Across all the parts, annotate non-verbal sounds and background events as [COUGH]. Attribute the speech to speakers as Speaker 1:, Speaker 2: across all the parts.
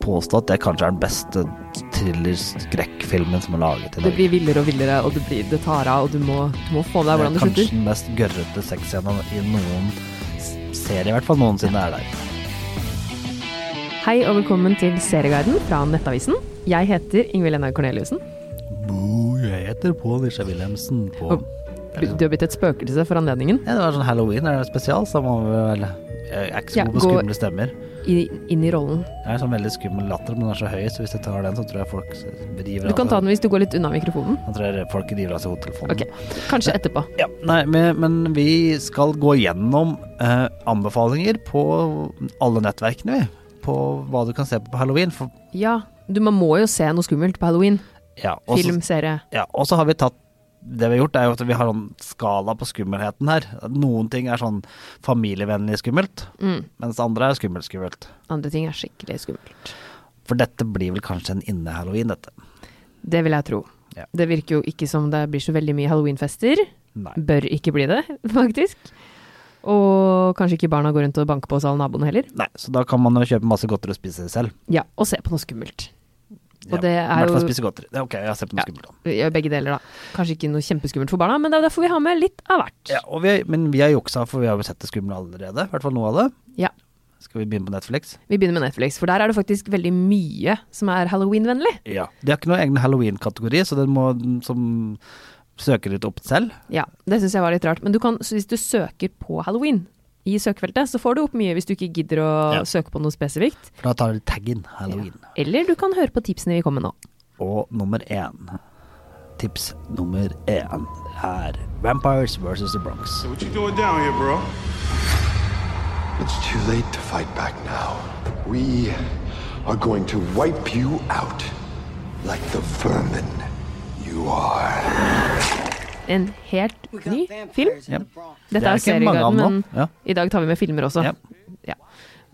Speaker 1: påstå at det kanskje er den beste thriller-skrekkfilmen som er laget i
Speaker 2: Det
Speaker 1: Norge.
Speaker 2: blir villere og villere, og det, blir, det tar av, og du må, du må få med deg hvordan det
Speaker 1: kanskje
Speaker 2: slutter.
Speaker 1: den mest gørrete sexscenen i noen s- serie, i hvert fall noensinne er der.
Speaker 2: Hei og velkommen til Serieguiden fra Nettavisen. Jeg heter Ingvild Ennar Corneliussen.
Speaker 1: Bo, jeg heter Pål Nisje Wilhelmsen på
Speaker 2: Og- Du har blitt et spøkelse for anledningen.
Speaker 1: ja, Det var sånn halloween er det spesial, så må vi vel Jeg er ikke så
Speaker 2: Ja,
Speaker 1: god på
Speaker 2: gå-
Speaker 1: skumle stemmer.
Speaker 2: I, inn i rollen.
Speaker 1: Jeg er sånn veldig skummel latter, men den er så høy, så hvis jeg tar den, så tror jeg folk river
Speaker 2: Du kan ta den hvis du går litt unna mikrofonen.
Speaker 1: Jeg tror jeg folk river av seg hodetelefonen.
Speaker 2: Ok, Kanskje etterpå.
Speaker 1: Ja, nei, men, men vi skal gå gjennom eh, anbefalinger på alle nettverkene, vi. På hva du kan se på på halloween. For,
Speaker 2: Ja, du, man må jo se noe skummelt på halloween.
Speaker 1: ja, og så-
Speaker 2: Film, serie.
Speaker 1: Ja, og så har vi tatt det vi har gjort, er jo at vi har sånn skala på skummelheten her. Noen ting er sånn familievennlig skummelt,
Speaker 2: Mm.
Speaker 1: mens andre er skummelt skummelt.
Speaker 2: Andre ting er skikkelig skummelt.
Speaker 1: For dette blir vel kanskje en inne-halloween, dette.
Speaker 2: Det vil jeg tro.
Speaker 1: Ja.
Speaker 2: Det virker jo ikke som det blir så veldig mye halloweenfester.
Speaker 1: Nei.
Speaker 2: Bør ikke bli det, [LAUGHS] faktisk. Og kanskje ikke barna går rundt og banker på hos alle naboene heller.
Speaker 1: Nei, så da kan man jo kjøpe masse godteri og spise det selv.
Speaker 2: Ja, og se på noe skummelt. Og
Speaker 1: Ja,
Speaker 2: det
Speaker 1: I
Speaker 2: er
Speaker 1: hvert fall
Speaker 2: jo
Speaker 1: spise godteri. Ja, ok, jeg ser på noe
Speaker 2: Ja.
Speaker 1: skummelt. da.
Speaker 2: gjør begge deler, da. Kanskje ikke noe kjempeskummelt for barna, men det er jo derfor vi har med litt av hvert.
Speaker 1: Ja, og vi har, men vi har juksa, for vi har jo sett det skumle allerede. I hvert fall noe av det.
Speaker 2: Ja.
Speaker 1: Skal vi begynne på Netflix?
Speaker 2: Vi begynner med Netflix, for der er det faktisk veldig mye som er halloween-vennlig.
Speaker 1: Ja. De har ikke noen egen halloween-kategori, så den må som søker litt opp selv.
Speaker 2: Ja, det syns jeg var litt rart. Men du kan, så hvis du søker på halloween i søkefeltet, så får du opp mye hvis du ikke gidder å
Speaker 1: Ja.
Speaker 2: søke på noe spesifikt.
Speaker 1: For da tar de taggen halloween.
Speaker 2: Eller du kan høre på tipsene vi kommer med nå.
Speaker 1: Og nummer én. Tips nummer én er Vampires versus The Bronx.
Speaker 3: What you doing down here, bro?
Speaker 4: It's too late to fight back now. We are going to wipe you out like the vermin you are.
Speaker 2: En helt ny film.
Speaker 1: Ja.
Speaker 2: Dette
Speaker 1: Det
Speaker 2: er,
Speaker 1: er ikke mange
Speaker 2: jo
Speaker 1: av
Speaker 2: serieguiden,
Speaker 1: dem nå.
Speaker 2: men
Speaker 1: Ja.
Speaker 2: i dag tar vi med filmer også.
Speaker 1: Ja.
Speaker 2: Ja.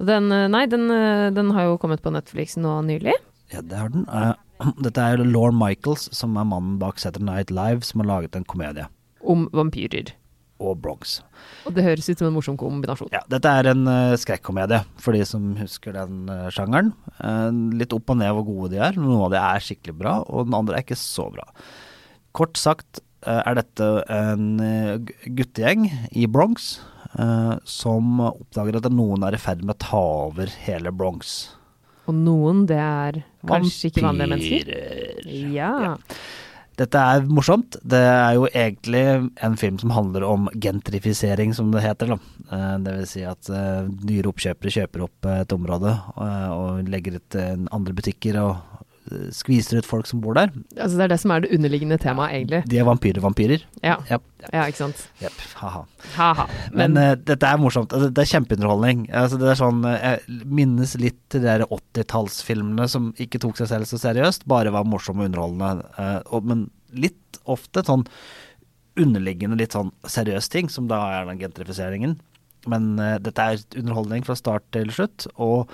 Speaker 2: Den, eh, nei, den, eh, den har jo kommet på Netflix nå nylig.
Speaker 1: Ja, det har den. Eh, [CLEARS THROAT] Dette er Lorne Michaels, som er mannen bak Saturday Night Live, som har laget en komedie.
Speaker 2: Om vampyrer.
Speaker 1: Og Bronx.
Speaker 2: Og det høres ut som en morsom kombinasjon.
Speaker 1: Ja, dette er en eh, skrekkomedie, for de som husker den eh, sjangeren. Eh, litt opp og ned hvor gode de er. Noen av de er skikkelig bra, og den andre er ikke så bra. Kort sagt eh, er dette en eh, gu- guttegjeng i Bronx eh, som oppdager at noen er i ferd med å ta over hele Bronx.
Speaker 2: Og noen, det er kanskje ikke vanlige mennesker.
Speaker 1: Vampyrer.
Speaker 2: Ja.
Speaker 1: Dette er morsomt. Det er jo egentlig en film som handler om gentrifisering, som det heter. Da. Eh, Det vil si at eh, dyre oppkjøpere kjøper opp eh, et område eh, og legger ut eh, andre butikker og eh, skviser ut folk som bor der.
Speaker 2: Altså, det er det som er det underliggende temaet, egentlig.
Speaker 1: De er vampyrer-vampyrer.
Speaker 2: Ja.
Speaker 1: Ja. ja.
Speaker 2: ja, ikke sant.
Speaker 1: Jepp. Ha-ha.
Speaker 2: Ha-ha.
Speaker 1: Men,
Speaker 2: Men,
Speaker 1: eh, dette er morsomt. Det, det er kjempeunderholdning. Altså, det er sånn, eh, jeg minnes litt til de der 80-tallsfilmene som ikke tok seg selv så seriøst, bare var morsomme og underholdende. Eh, og, men litt ofte sånn underliggende, litt sånn seriøse ting, som da er den gentrifiseringen. Men eh, dette er underholdning fra start til slutt, og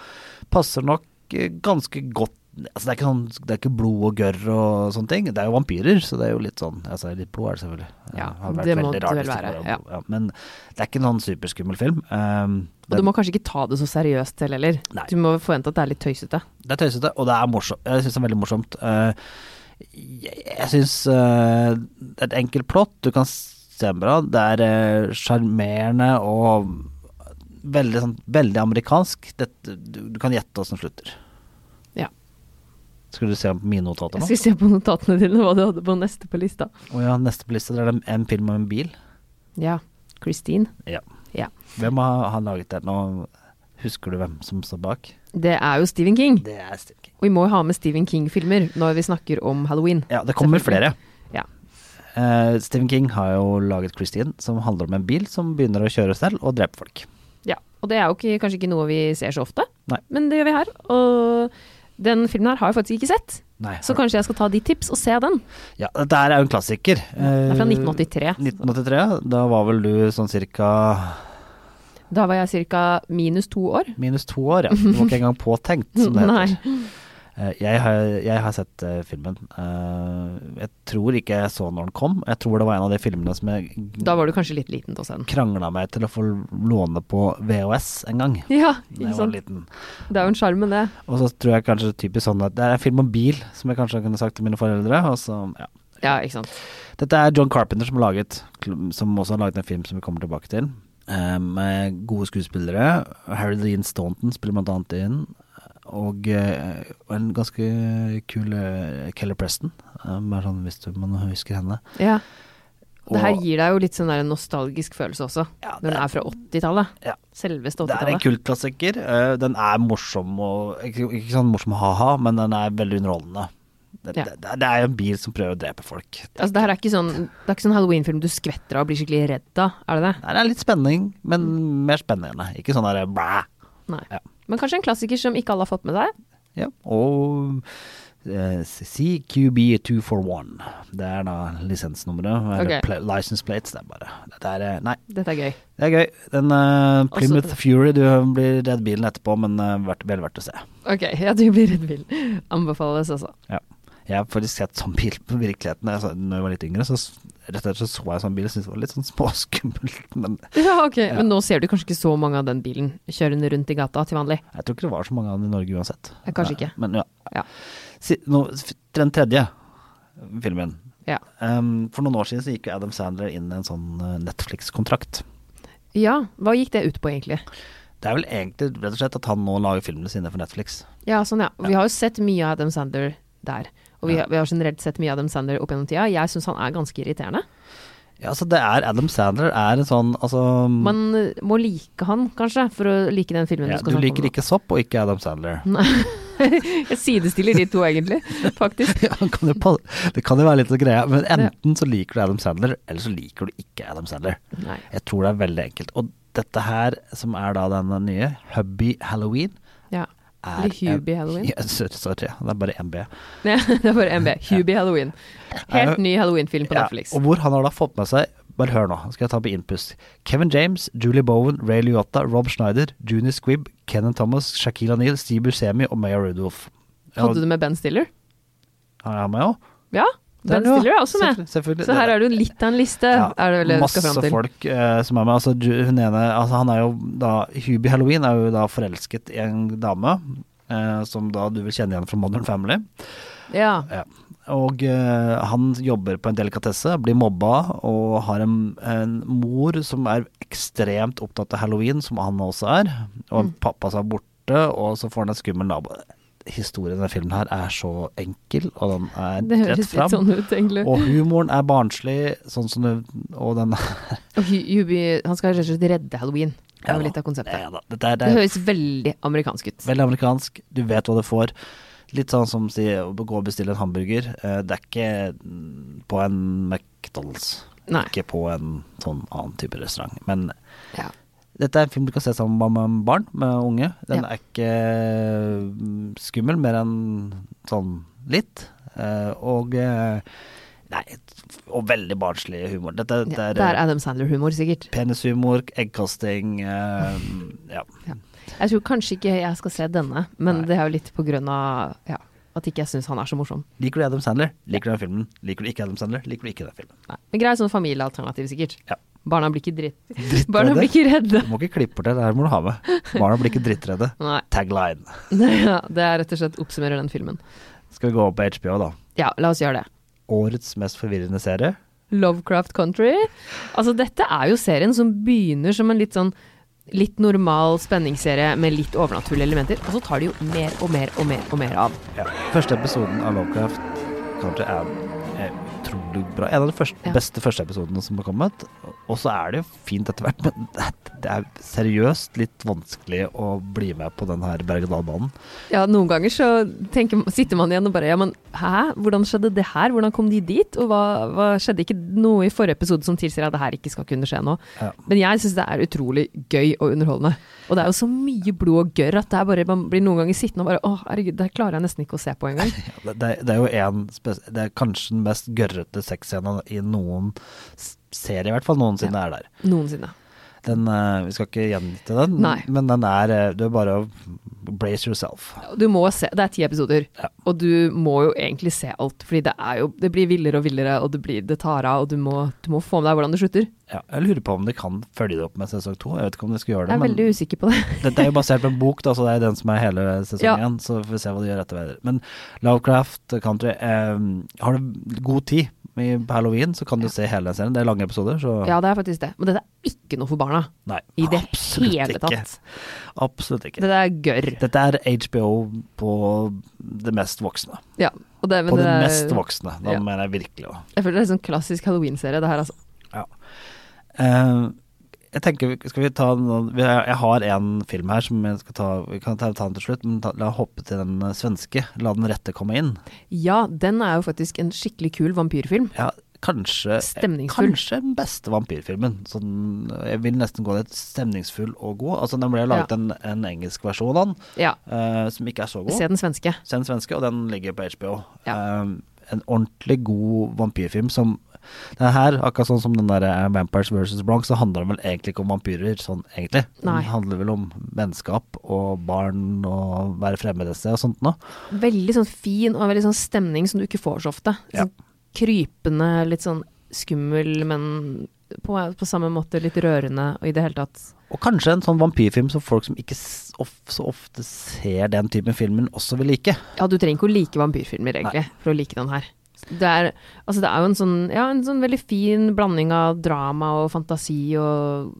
Speaker 1: passer nok eh, ganske godt Altså, det, er ikke sånn, det er ikke blod og gørr og sånne ting. Det er jo vampyrer, så det er jo litt sånn altså, Litt blod er det selvfølgelig. Eh,
Speaker 2: Ja,
Speaker 1: hadde vært
Speaker 2: det
Speaker 1: veldig
Speaker 2: måtte
Speaker 1: rart
Speaker 2: vel
Speaker 1: hvis det
Speaker 2: være,
Speaker 1: var
Speaker 2: ja.
Speaker 1: blod, ja, men det er ikke noen superskummel film. Ehm,
Speaker 2: og du
Speaker 1: den,
Speaker 2: må kanskje ikke ta det så seriøst til heller.
Speaker 1: Nei.
Speaker 2: Du må forvente at det er litt tøysete.
Speaker 1: det er tøysete, og det er morsomt. Jeg syns det er veldig morsomt. Eh, jeg jeg syns det er et enkelt plott. Du kan se den bra. Det er eh, sjarmerende og veldig, sånn, veldig amerikansk. Dette, du, du kan gjette åssen slutter.
Speaker 2: Ja.
Speaker 1: Skulle du se på mine notater
Speaker 2: Jeg
Speaker 1: nå?
Speaker 2: skal se på notatene dine hva du hadde på neste på lista.
Speaker 1: Å ja, neste på lista der er det en film om en bil.
Speaker 2: Ja. Christine.
Speaker 1: Ja.
Speaker 2: Ja.
Speaker 1: Hvem har, har laget den, og husker du hvem som står bak?
Speaker 2: Det er jo Stephen King.
Speaker 1: Det er Steve King.
Speaker 2: Og vi må jo ha med Stephen King-filmer når vi snakker om halloween.
Speaker 1: Ja, det kommer flere.
Speaker 2: Selvfølgelig. Ja.
Speaker 1: Eh, Stephen King har jo laget Christine, som handler om en bil som begynner å kjøre selv og drepe folk.
Speaker 2: Ja, og det er jo ikke, kanskje ikke noe vi ser så ofte,
Speaker 1: Nei.
Speaker 2: men det gjør vi her. Og den filmen her har jeg faktisk ikke sett,
Speaker 1: Nei,
Speaker 2: så kanskje jeg skal ta ditt tips og se den.
Speaker 1: ja, Dette her er jo en klassiker.
Speaker 2: Den er fra
Speaker 1: Eh,
Speaker 2: 1983.
Speaker 1: 1983, ja. Da var vel du sånn cirka
Speaker 2: Da var jeg ca. minus to år. [LAUGHS]
Speaker 1: minus to år, ja. Du var ikke engang påtenkt, som det heter.
Speaker 2: Nei.
Speaker 1: Eh, Jeg har, jeg har sett eh, filmen. Eh, Jeg tror ikke jeg så når den kom. Jeg tror det var en av de filmene som jeg
Speaker 2: Da var du kanskje litt liten til å se den.
Speaker 1: krangla meg til å få låne på VHS en gang.
Speaker 2: Ja,
Speaker 1: Da jeg
Speaker 2: ikke
Speaker 1: var
Speaker 2: sant.
Speaker 1: liten.
Speaker 2: Det er jo en sjarm med det.
Speaker 1: Og så tror jeg kanskje typisk sånn at det er en film om bil, som jeg kanskje kunne sagt til mine foreldre. Og så, ja.
Speaker 2: Ja, ikke sant.
Speaker 1: Dette er John Carpenter som har laget, som også har laget en film som vi kommer tilbake til. eh, Med gode skuespillere. Harry Dean Staunton spiller blant annet inn. Og eh, og en ganske kul eh, Kelly Preston, eh, bare sånn hvis du, man husker henne.
Speaker 2: Ja.
Speaker 1: Og-
Speaker 2: Det her gir deg jo litt sånn der en nostalgisk følelse også,
Speaker 1: Ja,
Speaker 2: når den er fra 80-tallet.
Speaker 1: Ja.
Speaker 2: Selveste
Speaker 1: Det er en
Speaker 2: 80-tallet.
Speaker 1: kultklassiker. eh, Den er morsom og Ikke, ikke sånn morsom ha-ha, men den er veldig underholdende. Det,
Speaker 2: Ja.
Speaker 1: det, det er jo en bil som prøver å drepe folk.
Speaker 2: Altså, det her er ikke sånn, det er ikke sånn Halloween-film du skvetter av og blir skikkelig redd av, er det det?
Speaker 1: Nei, Det er litt spenning, men mer spennende. Ikke sånn derre blæ.
Speaker 2: Nei.
Speaker 1: Ja.
Speaker 2: Men kanskje en klassiker som ikke alle har fått med seg?
Speaker 1: Ja. Og eh, CQB241. Det er da lisensnummeret. Eller
Speaker 2: Ok.
Speaker 1: pla- license plates. Det er bare Dette er eh, Nei,
Speaker 2: Dette er gøy.
Speaker 1: det er gøy. Den eh, Plymouth
Speaker 2: Altså-
Speaker 1: Fury, du eh, blir redd bilen etterpå, men eh, verdt, vel verdt å se.
Speaker 2: Ok, [LAUGHS] ja, du blir redd vill. Anbefales altså.
Speaker 1: Ja. Jeg har faktisk sett sånn bil på virkeligheten. Jeg, så- når jeg var litt yngre, så s- rett og slett så, så jeg sånn bil og syntes det var litt sånn [LAUGHS] småskummelt. Men
Speaker 2: [LAUGHS] Ja, ok. Men nå ser du kanskje ikke så mange av den bilen kjørende rundt i gata til vanlig.
Speaker 1: jeg tror ikke det var så mange av dem i Norge uansett.
Speaker 2: Eh, Kanskje ikke.
Speaker 1: Men ja.
Speaker 2: Ja.
Speaker 1: Si, nå, f- den tredje filmen.
Speaker 2: Ja.
Speaker 1: Em, for noen år siden så gikk jo Adam Sandler inn i en sånn eh, Netflix-kontrakt.
Speaker 2: ja, hva gikk det ut på egentlig?
Speaker 1: Det er vel egentlig rett og slett at han nå lager filmene sine for Netflix.
Speaker 2: Ja, sånn ja. Vi har jo sett mye av Adam Sander der. Og vi, har- vi har generelt sett mye av Adam Sander opp gjennom tida. Jeg syns han er ganske irriterende.
Speaker 1: Ja, altså det er Adam Sandler er en sånn altså
Speaker 2: Man eh, må like han, kanskje, for å like den filmen
Speaker 1: ja,
Speaker 2: du
Speaker 1: Du
Speaker 2: skal snakke
Speaker 1: liker
Speaker 2: om. nå.
Speaker 1: ikke sopp og ikke Adam Sandler. [LAUGHS]
Speaker 2: Jeg sidestiller de to, [LAUGHS] egentlig. Faktisk.
Speaker 1: Ja, han kan jo på, det kan jo være litt av greia, men enten så liker du Adam Sandler, eller så liker du ikke Adam Sandler.
Speaker 2: Nei.
Speaker 1: Jeg tror det er veldig enkelt. Og dette her, som er da denne nye, Hubby Halloween
Speaker 2: Ja.
Speaker 1: er
Speaker 2: Eller Hubie Halloween.
Speaker 1: Ja, sorry, sorry, det er bare MB.
Speaker 2: Nei, [LAUGHS] det er bare MB. Hubie Halloween. Helt ny Halloween-film på
Speaker 1: Ja,
Speaker 2: Netflix.
Speaker 1: og hvor han har da fått med seg Bare hør nå, skal jeg ta på innpust. Kevin James, Julie Bowen, Ray Liotta, Rob Schneider, Juni Squibb, Kenan Thomas, Shaquille O'Neill, Steve Buscemi og Maya Rudolph.
Speaker 2: Hadde
Speaker 1: Ja,
Speaker 2: du med Ben Stiller?
Speaker 1: Har jeg med òg?
Speaker 2: Ja.
Speaker 1: Der
Speaker 2: Ben
Speaker 1: du, ja.
Speaker 2: Stiller er også med.
Speaker 1: Selvfølgelig.
Speaker 2: Så her er det jo litt av en liste, er det vel det du skal fram
Speaker 1: masse
Speaker 2: til.
Speaker 1: folk eh, som er med. Altså, Ju- hun ene, altså, han er jo da Hubie Halloween er jo da forelsket i en dame eh, som da du vil kjenne igjen fra Modern Family.
Speaker 2: Ja.
Speaker 1: Ja. Og eh, han jobber på en delikatesse, blir mobba og har en, en mor som er ekstremt opptatt av halloween, som han også er. Og
Speaker 2: Mm.
Speaker 1: en pappa som er borte, og så får han en skummel nabo. Historien i denne filmen her er så enkel, og den
Speaker 2: Det
Speaker 1: er rett
Speaker 2: høres litt
Speaker 1: fram.
Speaker 2: sånn ut, egentlig.
Speaker 1: Og humoren er barnslig, sånn som det, og den
Speaker 2: Og Hu- Hubie, han skal rett og slett redde halloween. Det er
Speaker 1: Ja
Speaker 2: jo
Speaker 1: da.
Speaker 2: litt av konseptet.
Speaker 1: Ja da. Dette er, det
Speaker 2: Det
Speaker 1: er
Speaker 2: høres veldig amerikansk ut.
Speaker 1: veldig amerikansk, du vet hva du får. Litt sånn som si, å gå og bestille en hamburger. Eh, Det er ikke mm, på en McDonald's.
Speaker 2: Nei.
Speaker 1: Ikke på en sånn annen type restaurant. Men
Speaker 2: Ja.
Speaker 1: dette er en film du kan se sammen med- med barn, med unge. Den
Speaker 2: Ja.
Speaker 1: er ikke mm, skummel, mer enn sånn litt. Eh, Og eh, Nei, og veldig barnslig humor. Dette,
Speaker 2: Ja,
Speaker 1: dette er, eh,
Speaker 2: det er Adam Sandler-humor, sikkert.
Speaker 1: penishumor, eggkasting eh, Ja.
Speaker 2: Jeg tror kanskje ikke jeg skal se denne, men
Speaker 1: Nei.
Speaker 2: det er jo litt på grunn av ja, at ikke jeg syns han er så morsom.
Speaker 1: Liker du Adam Sandler? Liker du den filmen? Liker du ikke Adam Sandler? Liker du ikke den filmen?
Speaker 2: Nei. Men grei sånn familiealternativ, sikkert.
Speaker 1: Ja.
Speaker 2: Barna blir ikke dritt.
Speaker 1: Drittredde?
Speaker 2: Barna blir ikke redde.
Speaker 1: Du må ikke klippe bort det, det her må du ha med. Barna blir ikke drittredde.
Speaker 2: [LAUGHS] Nei.
Speaker 1: Tagline.
Speaker 2: Ja, det er rett og slett oppsummerer den filmen.
Speaker 1: Skal vi gå over på HBO, da.
Speaker 2: Ja, la oss gjøre det.
Speaker 1: Årets mest forvirrende serie.
Speaker 2: Lovecraft Country. Altså, dette er jo serien som begynner som en litt sånn litt normal spenningsserie med litt overnaturlige elementer, og så tar de jo mer og mer og mer og mer av.
Speaker 1: Ja. Første episoden av Lovecraft Country er er utrolig bra. En av de første,
Speaker 2: Ja.
Speaker 1: beste første episodene som har kommet. Og så er det jo fint etter hvert, men [LAUGHS] det er- det er seriøst litt vanskelig å bli med på den her berg-og-dal-banen.
Speaker 2: Ja, noen ganger så tenker, sitter man igjen og bare Ja, men hæ? Hvordan skjedde det her? Hvordan kom de dit? Og hva, hva skjedde ikke noe i forrige episode som tilsier at det her ikke skal kunne skje nå?
Speaker 1: Ja.
Speaker 2: Men jeg syns det er utrolig gøy og underholdende. Og det er jo så mye blod og gørr at det er bare, man blir noen ganger sittende og bare Å, herregud, det her klarer jeg nesten ikke å se på engang.
Speaker 1: Ja, Det, det, det er jo en spes Det er kanskje den mest gørrete sexscenen i noen s- serie, i hvert fall noensinne er der.
Speaker 2: Noensinne.
Speaker 1: Den, eh, vi skal ikke gjengitte den,
Speaker 2: Nei.
Speaker 1: men den er eh, Du er bare å brace yourself.
Speaker 2: Du må se, Det er ti episoder,
Speaker 1: Ja.
Speaker 2: og du må jo egentlig se alt. Fordi det, er jo, det blir villere og villere, og det, blir, det tar av, og du må, du må få med deg hvordan det slutter.
Speaker 1: Ja, jeg lurer på om de kan følge det opp med sesong to. Jeg vet ikke om de skal gjøre
Speaker 2: Jeg
Speaker 1: det,
Speaker 2: er
Speaker 1: men
Speaker 2: veldig usikker på det.
Speaker 1: [LAUGHS] dette er jo basert på en bok, da, så det er den som er hele
Speaker 2: Ja.
Speaker 1: sesongen igjen. Så får vi se hva de gjør etter videre. Men Lovecraft Country eh, Har du god tid i på halloween, så kan du se hele serien. Det er lange episoder, så
Speaker 2: Ja, det er faktisk det. Men dette er ikke noe for barna.
Speaker 1: nei.
Speaker 2: I det
Speaker 1: absolutt
Speaker 2: hele
Speaker 1: ikke.
Speaker 2: tatt.
Speaker 1: Absolutt ikke.
Speaker 2: Dette er gørr.
Speaker 1: Dette er HBO på det mest voksne.
Speaker 2: Ja, og det, men
Speaker 1: på det,
Speaker 2: er-
Speaker 1: mest voksne, da
Speaker 2: ja.
Speaker 1: mener jeg virkelig også.
Speaker 2: Jeg føler det er en sånn klassisk halloween-serie, det her altså.
Speaker 1: Eh, jeg tenker, vi- skal vi ta noen vi- Jeg har en film her som jeg skal ta Vi kan ta, ta den til slutt, men ta, la hoppe til den eh, svenske. La den rette komme inn.
Speaker 2: Ja, den er jo faktisk en skikkelig kul vampyrfilm.
Speaker 1: Ja, kanskje eh,
Speaker 2: Stemningsfull.
Speaker 1: Kanskje den beste vampyrfilmen. Sånn, jeg vil nesten gå litt stemningsfull og god. Altså, den ble laget
Speaker 2: Ja.
Speaker 1: en, en engelsk versjon av den,
Speaker 2: Ja,
Speaker 1: eh, som ikke er så god.
Speaker 2: se den svenske.
Speaker 1: Se den svenske, og den ligger på HBO.
Speaker 2: Ja.
Speaker 1: Eh, en ordentlig god vampyrfilm som den her, akkurat sånn som den der eh, Vampires vs. Bronx, så handler den vel egentlig ikke om vampyrer, sånn egentlig.
Speaker 2: Nei.
Speaker 1: Den handler vel om vennskap og barn og være fremmed et sted og sånt noe.
Speaker 2: Veldig sånn fin og veldig sånn stemning som du ikke får så ofte.
Speaker 1: Ja.
Speaker 2: Sånn krypende, litt sånn skummel, men på, på samme måte litt rørende og i det hele tatt.
Speaker 1: Og kanskje en sånn vampyrfilm som folk som ikke s- of, så ofte ser den typen filmen, også vil like.
Speaker 2: Ja, du trenger ikke å like vampyrfilmer egentlig for å like den her. Det er, altså det er jo en sånn, ja, en sånn veldig fin blanding av drama og fantasi og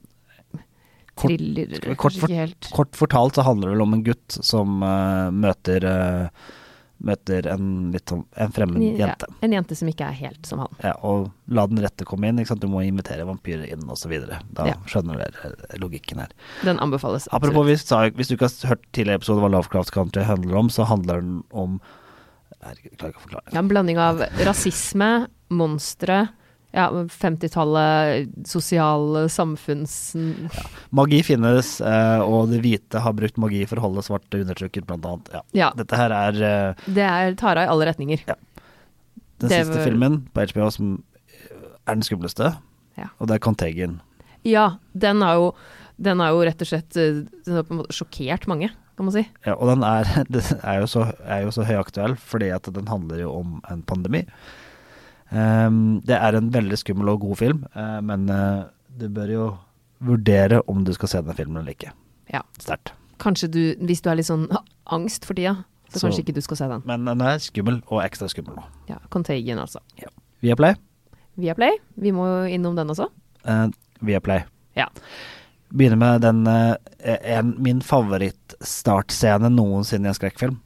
Speaker 1: Kort- skal
Speaker 2: thriller.
Speaker 1: vi
Speaker 2: Kanskje
Speaker 1: kort fort-
Speaker 2: ikke helt.
Speaker 1: Kort fortalt så handler det vel om en gutt som eh, møter eh, Møter en litt sånn en fremmed
Speaker 2: Ja,
Speaker 1: jente.
Speaker 2: en jente som ikke er helt som han.
Speaker 1: Ja, og la den rette komme inn. Ikke sant? Du må invitere vampyrer inn osv. Da
Speaker 2: Ja.
Speaker 1: skjønner dere eh, logikken her.
Speaker 2: Den anbefales.
Speaker 1: Apropos, vi sa, hvis du ikke har hørt tidligere episode hva Lovecraft Country handler om, så handler den om Herregud, jeg klarer ikke å forklare.
Speaker 2: Ja, en blanding av rasisme, monstre, ja, 50-tallet, sosiale samfunns...
Speaker 1: Magi finnes, eh, og de hvite har brukt magi for å holde svarte undertrykket, blant annet. Ja.
Speaker 2: Ja,
Speaker 1: Dette her er eh,
Speaker 2: det er Tara i alle retninger.
Speaker 1: den
Speaker 2: Det
Speaker 1: siste
Speaker 2: var-
Speaker 1: filmen på HBO som er den skumleste,
Speaker 2: Ja.
Speaker 1: og det er Contagion.
Speaker 2: Ja, den har jo, den har jo rett og slett eh, den har på en måte sjokkert mange, kan man si.
Speaker 1: Ja, og den er, [LAUGHS] det er, jo så, er jo så høyaktuell, fordi at den handler jo om en pandemi. Ehm, det er en veldig skummel og god film, eh, men eh, du bør jo vurdere om du skal se den filmen eller ikke.
Speaker 2: Ja.
Speaker 1: Sterkt.
Speaker 2: Kanskje du, hvis du er litt sånn [LAUGHS] ah, angst for tida, så,
Speaker 1: Så-
Speaker 2: kanskje ikke du skal se den.
Speaker 1: Men den er skummel, og ekstra skummel nå.
Speaker 2: Ja, Contagion altså.
Speaker 1: Viaplay.
Speaker 2: Viaplay, vi må jo innom den også.
Speaker 1: Uh, Viaplay.
Speaker 2: Ja.
Speaker 1: Begynner med den, eh, en, min favorittstartscene noensinne i en skrekkfilm.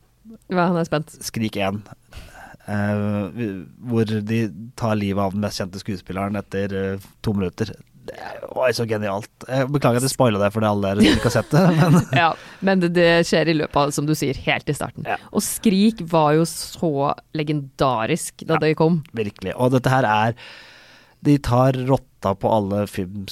Speaker 2: Hva, han er spent.
Speaker 1: Skrik 1. eh, hvor de tar livet av den mest kjente skuespilleren etter eh, to minutter. Det er oi, så genialt. Jeg beklager at jeg spoila det for det alle der ute ikke har sett det, [LAUGHS] men
Speaker 2: [LAUGHS] Ja, men det, det skjer i løpet av, som du sier, helt i starten.
Speaker 1: Ja.
Speaker 2: Og Skrik var jo så legendarisk da
Speaker 1: Ja.
Speaker 2: det kom.
Speaker 1: virkelig. Og dette her er De tar rotta på alle film,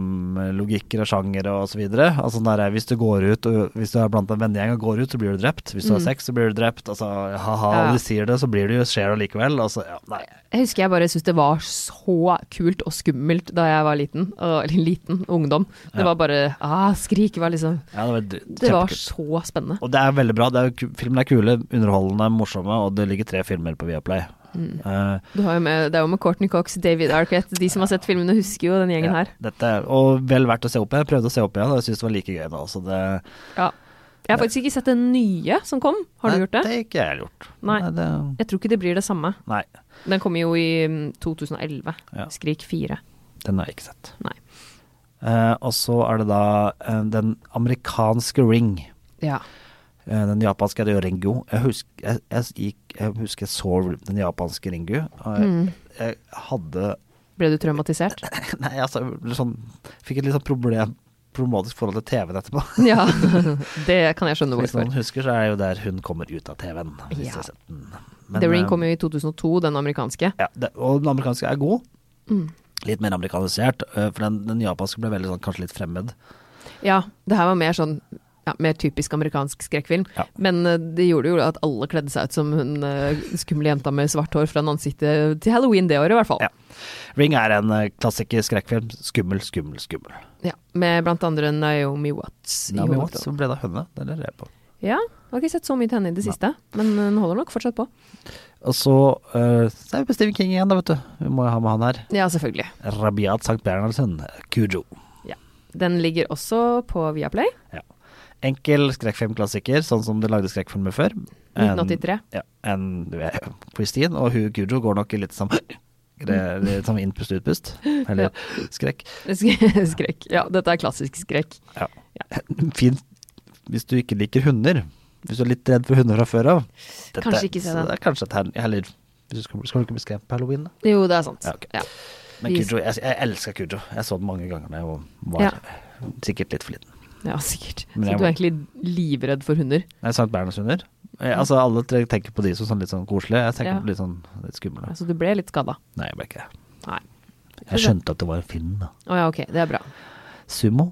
Speaker 1: skrekkfilmlogikker og sjangere og så videre. Altså den der, hvis du går ut, og hvis du er blant en vennegjeng og går ut, så blir du drept. Hvis du har
Speaker 2: Mm.
Speaker 1: sex, så blir du drept. Altså ha-ha,
Speaker 2: Ja.
Speaker 1: du sier det, så blir det jo skjer det likevel. Altså, ja, nei.
Speaker 2: Jeg husker jeg bare syntes det var så kult og skummelt da jeg var liten. Og, eller liten, ungdom. Det
Speaker 1: Ja.
Speaker 2: var bare ah, Skrik var liksom
Speaker 1: Ja, det var, d-
Speaker 2: Det var
Speaker 1: kjempekult.
Speaker 2: så spennende.
Speaker 1: Og det er veldig bra. Det er, jo ku- filmen er kule, underholdende, morsomme, og det ligger tre filmer på Viaplay.
Speaker 2: Mm.
Speaker 1: Eh,
Speaker 2: Du har jo med, det er jo med Courtney Cox, David Arquette. De som har sett filmene, husker jo den
Speaker 1: ja,
Speaker 2: gjengen her.
Speaker 1: dette, er- og vel verdt å se opp igjen. Jeg prøvde å se opp igjen, og jeg syns det var like gøy da. Så det,
Speaker 2: Ja. Jeg har faktisk ikke sett den nye som kom. Har du
Speaker 1: Nei,
Speaker 2: gjort det?
Speaker 1: Det har ikke jeg gjort.
Speaker 2: Nei.
Speaker 1: det,
Speaker 2: Jeg tror ikke det blir det samme.
Speaker 1: nei,
Speaker 2: Den kom jo i mm, 2011.
Speaker 1: Ja.
Speaker 2: Skrik 4.
Speaker 1: den har jeg ikke sett.
Speaker 2: Nei.
Speaker 1: Eh, og så er det da eh, den amerikanske Ring.
Speaker 2: Ja.
Speaker 1: Eh, Den japanske er det jo Ringu. Jeg husker jeg, jeg, gikk, jeg husker jeg så den japanske Ringu. Og jeg,
Speaker 2: Mm.
Speaker 1: jeg hadde [LAUGHS]
Speaker 2: Ble du traumatisert?
Speaker 1: Nei, altså, jeg ble sånn, fikk et litt sånn problem, problematisk forhold til TV-en etterpå.
Speaker 2: ja. [LAUGHS] Det kan jeg skjønne
Speaker 1: Hvis
Speaker 2: hvorfor.
Speaker 1: noen husker, så er jo der hun kommer ut av TV-en. hvis
Speaker 2: Ja.
Speaker 1: du har sett den. Men,
Speaker 2: The Ring
Speaker 1: eh,
Speaker 2: kom jo i 2002, den amerikanske.
Speaker 1: ja, det, Og den amerikanske er god.
Speaker 2: Mm.
Speaker 1: Litt mer amerikanisert, eh, for den, den japanske ble veldig sånn, kanskje litt fremmed.
Speaker 2: Ja, det her var mer sånn ja, mer typisk amerikansk skrekkfilm.
Speaker 1: Ja.
Speaker 2: Men eh, det gjorde jo at alle kledde seg ut som hun eh, skumle jenta med svart hår fra ansiktet til halloween det året, i hvert fall.
Speaker 1: Ja. Ring er en eh, klassiker skrekkfilm. Skummel, skummel, skummel.
Speaker 2: Ja, med blant andre Naomi Watts. i
Speaker 1: Naomi
Speaker 2: hovedrollen.
Speaker 1: Watts som ble da hønne. Det lurer jeg på.
Speaker 2: Ja, jeg har ikke sett så mye til henne i det siste, men hun holder nok fortsatt på.
Speaker 1: Og så eh, så er vi på Stephen King igjen, da, vet du. Vi må jo ha med han her.
Speaker 2: Ja, selvfølgelig.
Speaker 1: Rabiat Sankt Bernhardsen, Kujo.
Speaker 2: Den ligger også på Viaplay. [LAUGHS]
Speaker 1: Ja. Enkel skrekkfilmklassiker, sånn som de lagde skrekkfilmer før. En-
Speaker 2: 1983.
Speaker 1: Ja, en du vet, Christine og hun Kujo går nok i litt sånn [CLEARS THROAT] gre- litt sånn innpust-utpust. Eller skrekk.
Speaker 2: Sk- Skrekk. Ja, dette er klassisk skrekk.
Speaker 1: Ja. [CLEARS THROAT] Fint hvis du ikke liker hunder. Hvis du er litt redd for hunder fra før av. Dette-
Speaker 2: Kanskje ikke se
Speaker 1: så
Speaker 2: den.
Speaker 1: Det er kanskje et her, heller, hvis du skal, skal du ikke bli skremt på halloween, da?
Speaker 2: Jo, det er sant.
Speaker 1: Ja, ok.
Speaker 2: Ja.
Speaker 1: Men
Speaker 2: Vi-
Speaker 1: Kujo, jeg, jeg elsker Kujo. Jeg så den mange ganger da jeg var
Speaker 2: Ja.
Speaker 1: sikkert litt for liten.
Speaker 2: Ja, sikkert. Så
Speaker 1: Men
Speaker 2: du
Speaker 1: jeg
Speaker 2: er
Speaker 1: må-
Speaker 2: egentlig livredd for hunder?
Speaker 1: Nei, Sankt Bernhardshunder. Eh, altså, alle tre tenker på de som sånn litt sånn koselige. Jeg tenker
Speaker 2: Ja.
Speaker 1: på litt sånn litt skumle.
Speaker 2: Altså, du ble litt skada?
Speaker 1: Nei, jeg ble ikke det.
Speaker 2: Nei.
Speaker 1: Jeg skjønte at det var en film, da.
Speaker 2: Å ja, ok. Det er bra.
Speaker 1: Sumo.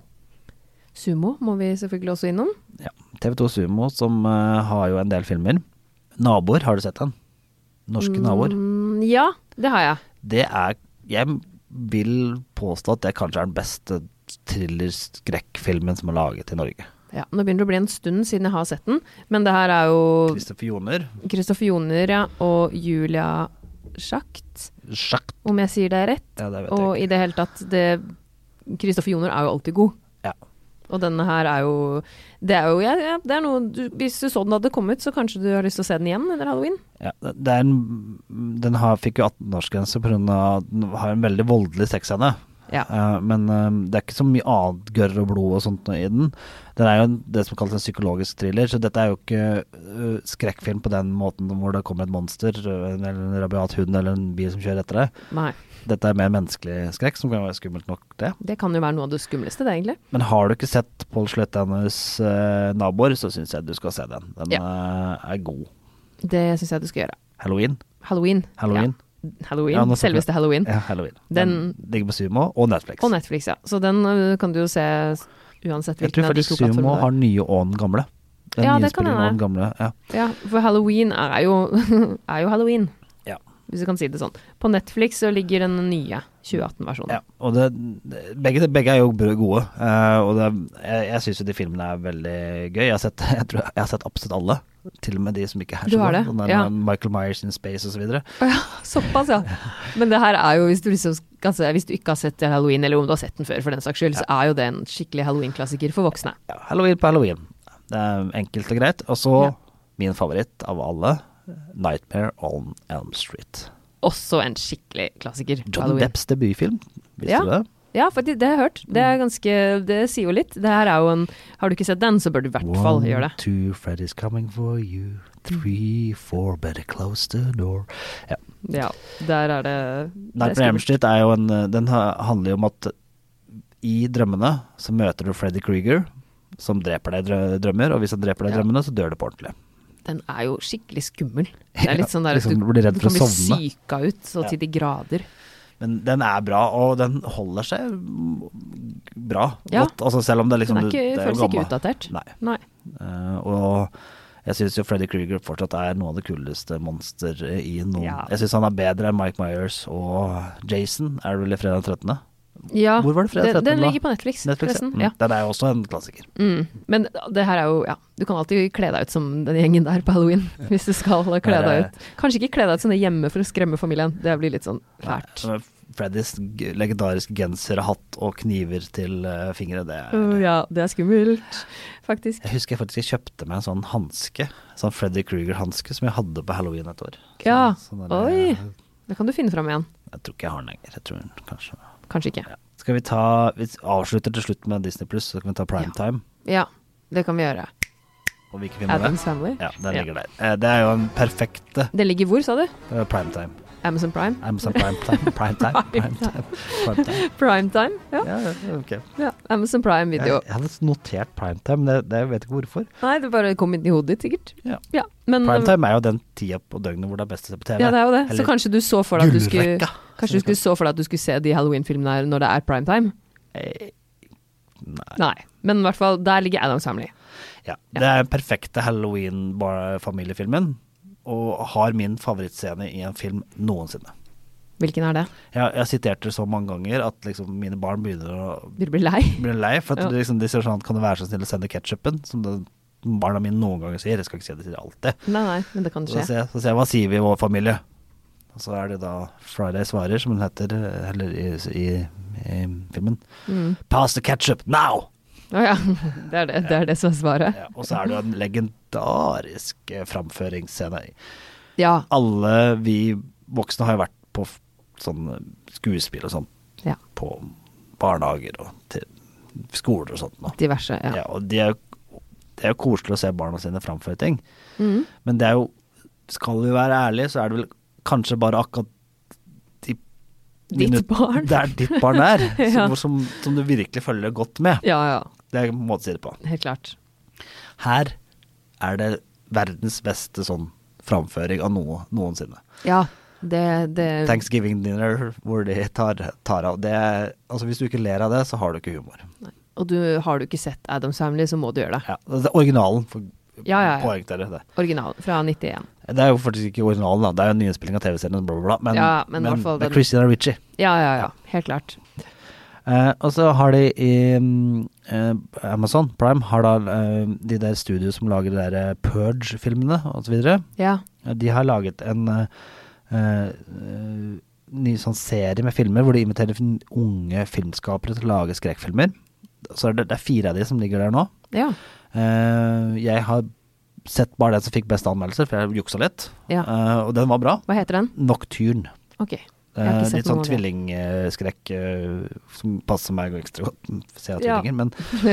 Speaker 2: Sumo må vi selvfølgelig også innom.
Speaker 1: Ja. TV2 Sumo, som eh, har jo en del filmer. Naboer, har du sett den? Norske naboer.
Speaker 2: Mm, ja, det har jeg.
Speaker 1: Det er Jeg vil påstå at det kanskje er den beste thriller-skrekkfilmen som er laget i Norge.
Speaker 2: Ja, nå begynner det å bli en stund siden jeg har sett den, men det her er jo
Speaker 1: Kristoffer Joner.
Speaker 2: Kristoffer Joner ja, og Julia Schacht,
Speaker 1: Sjakt.
Speaker 2: om jeg sier det rett.
Speaker 1: Ja, det vet jeg
Speaker 2: Og i det hele tatt det, Kristoffer Joner er jo alltid god.
Speaker 1: Ja.
Speaker 2: Og denne her er jo Det er jo ja, ja, det er noe du, Hvis du så den hadde kommet, så kanskje du har lyst til å se den igjen under halloween?
Speaker 1: Ja, det er en, den har, fikk jo 18-årsgrense pga. at den har en veldig voldelig sexscene.
Speaker 2: Ja.
Speaker 1: Eh, men eh, det er ikke så mye annet gørr og blod og sånt i den. Den er jo en, det som kalles en psykologisk thriller, så dette er jo ikke eh, skrekkfilm på den måten hvor det kommer et monster, eh, eller en rabiat hund eller en bil som kjører etter deg.
Speaker 2: Nei.
Speaker 1: Dette er mer menneskelig skrekk, som kan være skummelt nok, det.
Speaker 2: Det kan jo være noe av det skumleste, det, egentlig.
Speaker 1: Men har du ikke sett Pål Sløttanes eh, 'Naboer', så syns jeg du skal se den. Den eh, er god.
Speaker 2: Det syns jeg du skal gjøre.
Speaker 1: Halloween.
Speaker 2: Halloween.
Speaker 1: Halloween.
Speaker 2: Ja. Halloween.
Speaker 1: Ja, nå snakker vi-
Speaker 2: Selveste halloween.
Speaker 1: Ja, Halloween.
Speaker 2: Den-
Speaker 1: Den ligger på Sumo og Netflix.
Speaker 2: Og Netflix, ja. Så den ø, kan du jo se s- uansett
Speaker 1: jeg tror
Speaker 2: hvilken av de to
Speaker 1: faktisk Sumo
Speaker 2: plattformene.
Speaker 1: har den nye og den gamle. Den
Speaker 2: Ja,
Speaker 1: nye
Speaker 2: det kan
Speaker 1: spillingen
Speaker 2: hende.
Speaker 1: og den gamle. Ja.
Speaker 2: Ja, for halloween er jo, [LAUGHS] er jo halloween,
Speaker 1: Ja.
Speaker 2: hvis du kan si det sånn. På Netflix så ligger den nye 2018-versjonen.
Speaker 1: Ja, og det, begge, begge er jo br- gode, eh, og det, jeg, jeg syns jo de filmene er veldig gøy. Jeg har, sett, [LAUGHS] jeg, tror, jeg har sett absolutt alle, til og med de som ikke er
Speaker 2: Du
Speaker 1: så
Speaker 2: har
Speaker 1: gode.
Speaker 2: det,
Speaker 1: Sånn der
Speaker 2: ja.
Speaker 1: Michael Myers in Space osv.
Speaker 2: Såpass, [LAUGHS] ja. Men det her er jo, hvis du, liksom skal se, hvis du ikke har sett halloween, eller om du har sett den før for den saks skyld, så er jo det en skikkelig halloween-klassiker for voksne.
Speaker 1: Ja, halloween på halloween. Det er enkelt og greit. Og så
Speaker 2: Ja.
Speaker 1: min favoritt av alle, 'Nightmare on Elm Street'.
Speaker 2: Også en skikkelig klassiker. på
Speaker 1: John
Speaker 2: halloween.
Speaker 1: Depps debutfilm, visste
Speaker 2: Ja.
Speaker 1: du det?
Speaker 2: Ja, for det, det har jeg hørt. Det, er ganske, det sier jo litt. Det her er jo en Har du ikke sett den, så bør du i hvert fall gjøre det.
Speaker 1: two, Freddy's coming for you. Three, four, better close the door. Ja.
Speaker 2: Ja, der er det, det er
Speaker 1: Nightmare on Elm
Speaker 2: skummelt.
Speaker 1: Street er jo en eh, Den ha- handler jo om at i drømmene så møter du Freddy Krueger, som dreper deg i drø- drømmer, og hvis han dreper deg i
Speaker 2: Ja.
Speaker 1: drømmene, så dør du på ordentlig.
Speaker 2: Den er jo skikkelig skummel. Det er litt sånn der at
Speaker 1: liksom blir redd
Speaker 2: du
Speaker 1: for å
Speaker 2: kan bli
Speaker 1: sovne.
Speaker 2: syka ut så
Speaker 1: Ja.
Speaker 2: til de grader.
Speaker 1: Men den er bra, og den holder seg bra.
Speaker 2: Ja.
Speaker 1: Godt. Altså, selv om det er liksom
Speaker 2: Den er ikke,
Speaker 1: det er jo
Speaker 2: føles ikke
Speaker 1: gammel.
Speaker 2: utdatert.
Speaker 1: Nei.
Speaker 2: Nei.
Speaker 1: Eh, og jeg syns jo Freddy Krueger fortsatt er noe av det kuleste monster eh, i noen
Speaker 2: Ja.
Speaker 1: Jeg syns han er bedre enn Mike Myers og Jason, er det vel i fredag 13.?
Speaker 2: Ja,
Speaker 1: Hvor var det fredag 13
Speaker 2: den, den
Speaker 1: da?
Speaker 2: ligger på Netflix,
Speaker 1: Netflix,
Speaker 2: forresten.
Speaker 1: Mm,
Speaker 2: Ja.
Speaker 1: Den er jo også en klassiker.
Speaker 2: Mm. Men det her er jo Ja, du kan alltid kle deg ut som den gjengen der på halloween. [LAUGHS] Hvis du skal kle deg ut. Kanskje ikke kle deg ut som det hjemme for å skremme familien. Det blir litt sånn fælt.
Speaker 1: Som er Freddys g- legendariske genser, hatt og kniver til eh, fingre, det er
Speaker 2: Å, ja, det er skummelt, faktisk.
Speaker 1: Jeg husker jeg faktisk jeg kjøpte meg en sånn hanske, sånn Freddy Krueger-hanske, som jeg hadde på halloween et år. Så-
Speaker 2: Ja,
Speaker 1: sånn der-
Speaker 2: oi. Det kan du finne fram igjen.
Speaker 1: Jeg tror ikke jeg har den lenger. Jeg tror den kanskje
Speaker 2: Kanskje ikke.
Speaker 1: ja. Skal vi ta Vi avslutter til slutt med Disney pluss, så kan vi ta primetime.
Speaker 2: Ja, det kan vi gjøre.
Speaker 1: Og hvilke filmer det er.
Speaker 2: Adams Family.
Speaker 1: Ja, den ligger der. Eh, Det er jo den perfekte
Speaker 2: Det ligger hvor, sa du?
Speaker 1: eh, primetime.
Speaker 2: Amazon Prime?
Speaker 1: Amazon
Speaker 2: [LAUGHS]
Speaker 1: primetime, primetime, primetime. primetime.
Speaker 2: Primetime? Ja.
Speaker 1: Ja, ja, ok.
Speaker 2: ja. Amazon Prime
Speaker 1: Jeg,
Speaker 2: video.
Speaker 1: jeg hadde notert primetime, men det, det jeg vet ikke hvorfor.
Speaker 2: Nei, det bare kom inn i hodet ditt, sikkert.
Speaker 1: Ja.
Speaker 2: Ja, men
Speaker 1: Primetime er jo den tida på døgnet hvor det er best å se på TV.
Speaker 2: ja, det er jo det. Så
Speaker 1: Eller
Speaker 2: kanskje du så for deg at du skulle
Speaker 1: gullrekka.
Speaker 2: Kanskje du skulle så for deg at du skulle se de Halloween-filmene her når det er primetime?
Speaker 1: Eh, Nei.
Speaker 2: Nei. Men i hvert fall, der ligger Adams Family.
Speaker 1: Ja. Det er den perfekte Halloween-familiefilmen, og har min favorittscene i en film noensinne.
Speaker 2: Hvilken er det?
Speaker 1: Jeg, jeg har sitert det så mange ganger at liksom mine barn begynner å
Speaker 2: Vil du bli lei?
Speaker 1: bli lei. For at
Speaker 2: Ja.
Speaker 1: det liksom, de sier sånn Kan du være så snill å sende ketsjupen? Som det, barna mine noen ganger sier. Jeg skal ikke si det til alltid.
Speaker 2: Nei, nei, men det kan
Speaker 1: Så
Speaker 2: skje.
Speaker 1: sier jeg så sier jeg, hva sier vi i vår familie? Og så er det da Friday svarer, som hun heter, eller i, i, i filmen.
Speaker 2: Mm.
Speaker 1: Pass the ketchup now!
Speaker 2: Å ja. [LAUGHS] Det er det, det er det som er svaret.
Speaker 1: Ja, og så er det jo en legendarisk eh, framføringsscene.
Speaker 2: Ja.
Speaker 1: Alle vi voksne har jo vært på f- sånn skuespill og sånn
Speaker 2: ja.
Speaker 1: på barnehager og til skoler og sånt. Nå.
Speaker 2: Diverse.
Speaker 1: Ja.
Speaker 2: Ja.
Speaker 1: og det er, jo, det er jo koselig å se barna sine framføre ting,
Speaker 2: Mm.
Speaker 1: men det er jo Skal vi være ærlige, så er det vel kanskje bare akkurat de
Speaker 2: Ditt
Speaker 1: minut-
Speaker 2: barn.
Speaker 1: [LAUGHS] Der ditt barn er,
Speaker 2: [LAUGHS] Ja.
Speaker 1: som, som, som du virkelig følger godt med.
Speaker 2: Ja, ja.
Speaker 1: Det er en måte å si det på.
Speaker 2: Helt klart.
Speaker 1: Her er det verdens beste sånn framføring av noe noensinne.
Speaker 2: Ja. Det, det
Speaker 1: Thanksgiving dinner hvor de tar, tar av. Det er, altså hvis du ikke ler av det, så har du ikke humor.
Speaker 2: Og du, har du ikke sett Adams Family, så må du gjøre det.
Speaker 1: Ja, det er originalen. For
Speaker 2: Ja, ja, ja.
Speaker 1: Poengtere det.
Speaker 2: Originalen fra 91.
Speaker 1: Det er jo faktisk ikke originalen, da. Det er jo en nyinnspilling av TV-serien, bla, bla, bla. Men,
Speaker 2: Ja, men i hvert fall
Speaker 1: det
Speaker 2: den-
Speaker 1: er Christina Ritchie.
Speaker 2: Ja, ja, ja. Helt klart.
Speaker 1: Eh, og så har de i mm, eh, Amazon Prime har da eh, de der studio som lager de der eh, Purge-filmene osv.
Speaker 2: Ja.
Speaker 1: De har laget en eh, eh, ny sånn serie med filmer hvor de inviterer fin- unge filmskapere til å lage skrekkfilmer. Så er det, det er fire av de som ligger der nå.
Speaker 2: Ja.
Speaker 1: Eh, jeg har sett bare den som fikk best anmeldelser, for jeg juksa litt.
Speaker 2: Ja.
Speaker 1: Eh, og den var bra.
Speaker 2: Hva heter den?
Speaker 1: Nocturne.
Speaker 2: Ok. Jeg har
Speaker 1: Eh,
Speaker 2: ikke sett
Speaker 1: litt sånn
Speaker 2: noen av det.
Speaker 1: tvillingskrekk eh, som passer meg ekstra godt. mm, Ser jeg
Speaker 2: Ja.
Speaker 1: tvillinger,
Speaker 2: [LAUGHS]
Speaker 1: men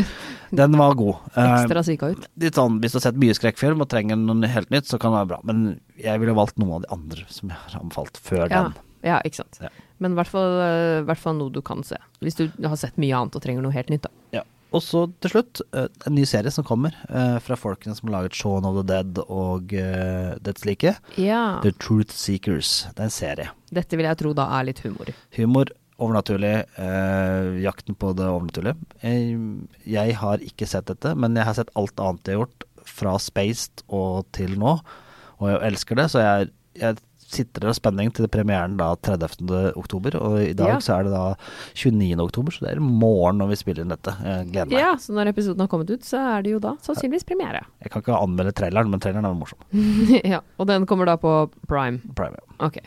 Speaker 1: den var god. Eh,
Speaker 2: Ekstra syka ut.
Speaker 1: litt sånn, hvis du har sett mye skrekkfilm og trenger noe helt nytt, så kan det være bra. Men jeg ville valgt noen av de andre som jeg har anbefalt før
Speaker 2: Ja.
Speaker 1: den.
Speaker 2: ja, ikke sant.
Speaker 1: Ja.
Speaker 2: Men i hvert fall, eh, hvert fall noe du kan se. Hvis du har sett mye annet og trenger noe helt nytt, da.
Speaker 1: Ja. Og så til slutt, eh, en ny serie som kommer eh, fra folkene som har laget Shaun of the Dead og uh, dets like.
Speaker 2: Ja.
Speaker 1: The Truth Seekers. Det er en serie.
Speaker 2: Dette vil jeg tro da er litt humor.
Speaker 1: Humor, overnaturlig, eh, jakten på det overnaturlige. Jeg, jeg har ikke sett dette, men jeg har sett alt annet jeg har gjort, fra Spaced og til nå, og jeg elsker det, så jeg, jeg sitter der av spenning til premieren da 30. oktober, og i dag
Speaker 2: Ja.
Speaker 1: så er det da 29. oktober, så det er i morgen når vi spiller inn dette. Jeg gleder meg.
Speaker 2: Ja, så når episoden har kommet ut, så er det jo da sannsynligvis premiere.
Speaker 1: Jeg kan ikke anmelde traileren, men traileren er morsom.
Speaker 2: Mm. [LAUGHS] ja, Og den kommer da på Prime.
Speaker 1: Prime, ja.
Speaker 2: Ok.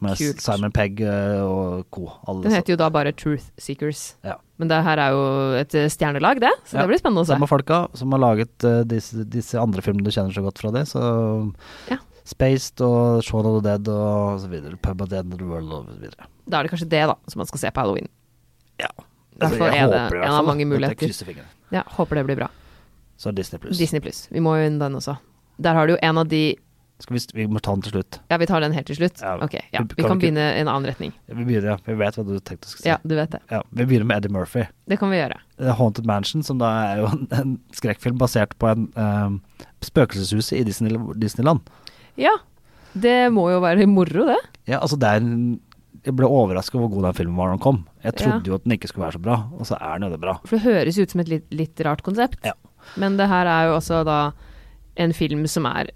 Speaker 1: Med
Speaker 2: Kult.
Speaker 1: Simon Pegg eh, og co. Alle
Speaker 2: Den
Speaker 1: sa-
Speaker 2: heter jo da bare Truth Seekers.
Speaker 1: ja.
Speaker 2: Men det her er jo et eh, stjernelag, det. Så
Speaker 1: Ja.
Speaker 2: det blir spennende å se.
Speaker 1: Samme folka som har laget eh, disse, disse andre filmene du kjenner så godt fra det. Så
Speaker 2: Ja. Spaced
Speaker 1: Spaced og Shaun of the Dead og så videre. Pub of the End of the World og så videre.
Speaker 2: Da er det kanskje det, da, som man skal se på halloween.
Speaker 1: Ja.
Speaker 2: hvert
Speaker 1: Altså,
Speaker 2: fall er det en av mange muligheter.
Speaker 1: Jeg krysser fingrene.
Speaker 2: Ja, Håper det blir bra.
Speaker 1: Så er Disney pluss.
Speaker 2: Disney pluss. Vi må jo inn den også. Der har du jo en av de
Speaker 1: Skal vi, st- vi må ta den til slutt.
Speaker 2: Ja, vi tar den helt til slutt?
Speaker 1: Ja.
Speaker 2: Ok, ja.
Speaker 1: Vi
Speaker 2: Vi
Speaker 1: kan
Speaker 2: kan
Speaker 1: ikke-
Speaker 2: begynne i en annen retning.
Speaker 1: Vi begynner, ja. Vi vet hva du tenkte å si.
Speaker 2: Ja, du vet det.
Speaker 1: Ja, vi begynner med Eddie Murphy.
Speaker 2: Det kan vi gjøre.
Speaker 1: The Haunted Mansion, som da er jo en, en skrekkfilm basert på en eh, spøkelseshuset i Disney, Disneyland.
Speaker 2: Ja. Det må jo være moro, det.
Speaker 1: Ja, altså det er en jeg ble overraska over hvor god den filmen var da den kom. Jeg trodde
Speaker 2: Ja.
Speaker 1: jo at den ikke skulle være så bra, og så er den jo det bra.
Speaker 2: For det høres ut som et litt, litt rart konsept.
Speaker 1: Ja.
Speaker 2: Men det her er jo også da en film som er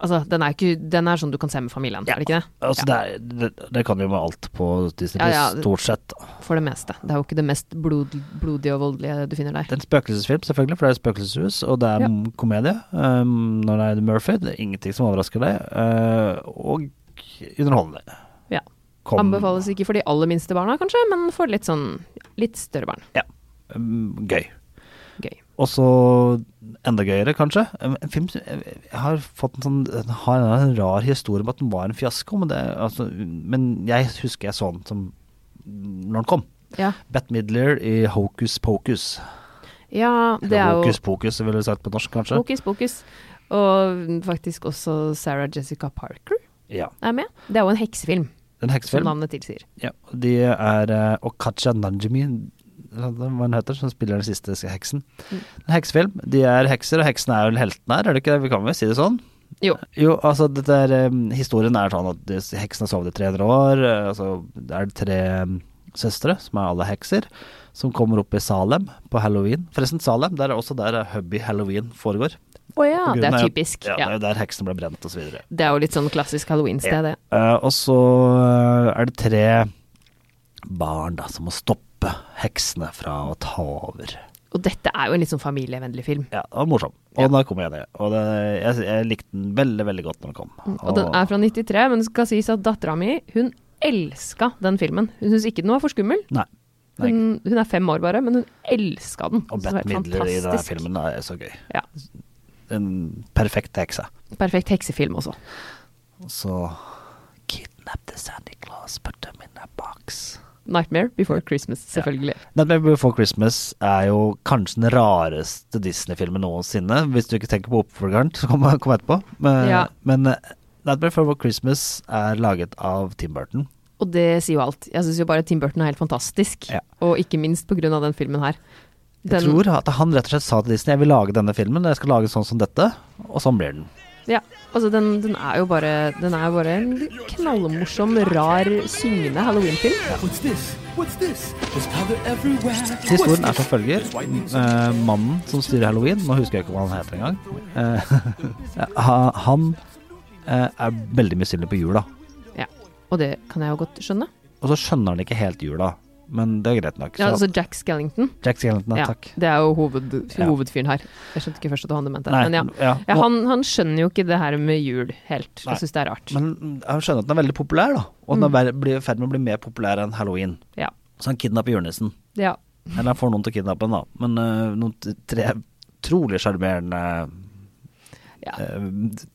Speaker 2: Altså, den er, ikke, den er sånn du kan se med familien, er det ikke det?
Speaker 1: Altså, det, er, det, det kan vi jo med alt på Disney
Speaker 2: Ja,
Speaker 1: Plus,
Speaker 2: ja.
Speaker 1: stort sett.
Speaker 2: For det meste. Det er jo ikke det mest blod, blodige og voldelige du finner
Speaker 1: Det
Speaker 2: der.
Speaker 1: er en spøkelsesfilm, selvfølgelig, for det er et spøkelseshus, og det er
Speaker 2: Ja.
Speaker 1: en komedie. Um, når det er Eddie Murphy, det er ingenting som overrasker deg, eh, og underholdende.
Speaker 2: Ja.
Speaker 1: Kom-
Speaker 2: Anbefales ikke for de aller minste barna, kanskje, men for litt sånn litt større barn.
Speaker 1: Ja. Um, gøy.
Speaker 2: Gøy.
Speaker 1: Og så enda gøyere, kanskje. Um, En film som jeg jeg har fått en sånn den har en rar historie om at den var en fiasko, men, det, er- altså, men jeg husker jeg så den som når den kom.
Speaker 2: Ja,
Speaker 1: Bette Midler i Hocus Pocus.
Speaker 2: ja det er jo
Speaker 1: Hokus pokus, ville du sagt på norsk, kanskje?
Speaker 2: Hokus pokus. Og faktisk også Sarah Jessica Parker
Speaker 1: Ja.
Speaker 2: er med. Det er jo en heksefilm,
Speaker 1: En
Speaker 2: som
Speaker 1: heksefilm.
Speaker 2: navnet tilsier.
Speaker 1: Ja. De er eh, Okacha Nanjimi, eller hva hun heter, som spiller den siste heksen.
Speaker 2: Mm.
Speaker 1: En heksefilm. De er hekser, og heksene er vel heltene her, er det ikke det? Vi kan vel si det sånn?
Speaker 2: Jo.
Speaker 1: Jo, altså dette er, eh, historien er sånn at de- heksen har sovet i 300 år, eh, altså det er tre eh, søstre, som er alle hekser, som kommer opp i Salem på halloween. Forresten, Salem det er også der eh, Hubby Halloween foregår.
Speaker 2: Å ja,
Speaker 1: På grunn
Speaker 2: Ah, det er
Speaker 1: av-
Speaker 2: typisk.
Speaker 1: Ja, Det
Speaker 2: Ja.
Speaker 1: er jo der heksene ble brent osv.
Speaker 2: Det er jo litt sånn klassisk halloween-sted, det.
Speaker 1: Uh, og så eh, er det tre barn da, som må stoppe heksene fra å ta over.
Speaker 2: Og dette er jo en litt sånn familievennlig film.
Speaker 1: Ja, det var morsom. Og da kom jeg ned. Og det, jeg, jeg likte den veldig, veldig godt når den kom.
Speaker 2: Mm, Og den er fra 93, men det skal sies at dattera mi, hun elska den filmen. Hun syntes ikke den var for skummel.
Speaker 1: Nei. nei ikke.
Speaker 2: Hun, hun er fem år bare, men hun elska den.
Speaker 1: og
Speaker 2: Så det var
Speaker 1: Bett Midler i den
Speaker 2: fantastisk.
Speaker 1: filmen er så gøy.
Speaker 2: Ja.
Speaker 1: En perfekt hekse.
Speaker 2: Perfekt heksefilm også.
Speaker 1: Og så Kidnap the Sandy Claus, put them in a box.
Speaker 2: 'Nightmare Before Christmas', selvfølgelig.
Speaker 1: Nightmare Before Christmas er jo kanskje den rareste Disney-filmen noensinne. Hvis du ikke tenker på oppfølgeren, så kom, kom etterpå. Men,
Speaker 2: Ja.
Speaker 1: men eh, Nightmare Before Christmas er laget av Tim Burton.
Speaker 2: Og det sier jo alt. Jeg syns jo bare Tim Burton er helt fantastisk.
Speaker 1: Ja.
Speaker 2: Og ikke minst pga. den filmen her.
Speaker 1: Jeg
Speaker 2: Den-
Speaker 1: tror at han rett og slett sa til Disney jeg vil lage denne filmen, jeg skal lage sånn som dette, og sånn blir den.
Speaker 2: Ja, altså den, den er jo bare Den er jo bare en knallmorsom, rar, syngende halloweenfilm.
Speaker 3: What's this? What's this? There's powder everywhere.
Speaker 1: Historien er som følger. Eh, mannen som styrer halloween, nå husker jeg ikke hva han heter engang, eh, [LAUGHS] ha- han eh, er veldig misunnelig på jula.
Speaker 2: Ja. Og det kan jeg jo godt skjønne.
Speaker 1: Og så skjønner han ikke helt jula, men det er greit nok. Så
Speaker 2: Ja, altså Jack Skellington.
Speaker 1: Jack Skellington, ja,
Speaker 2: Ja,
Speaker 1: takk.
Speaker 2: det er jo hoved,
Speaker 1: Ja.
Speaker 2: hovedfyren her. Jeg skjønte ikke først at det var han du mente.
Speaker 1: Nei,
Speaker 2: men ja.
Speaker 1: ja.
Speaker 2: Ja,
Speaker 1: Og-
Speaker 2: han, han skjønner jo ikke det her med jul helt.
Speaker 1: Nei.
Speaker 2: Jeg syns det er rart.
Speaker 1: Men han skjønner at den er veldig populær, da. Og
Speaker 2: Mm.
Speaker 1: den er ver- blir i ferd med å bli mer populær enn halloween.
Speaker 2: Ja.
Speaker 1: Så han kidnapper julenissen.
Speaker 2: ja.
Speaker 1: Eller han får noen til å kidnappe den, da. Men eh, noen t- tre trolig sjarmerende
Speaker 2: Ja.
Speaker 1: eh,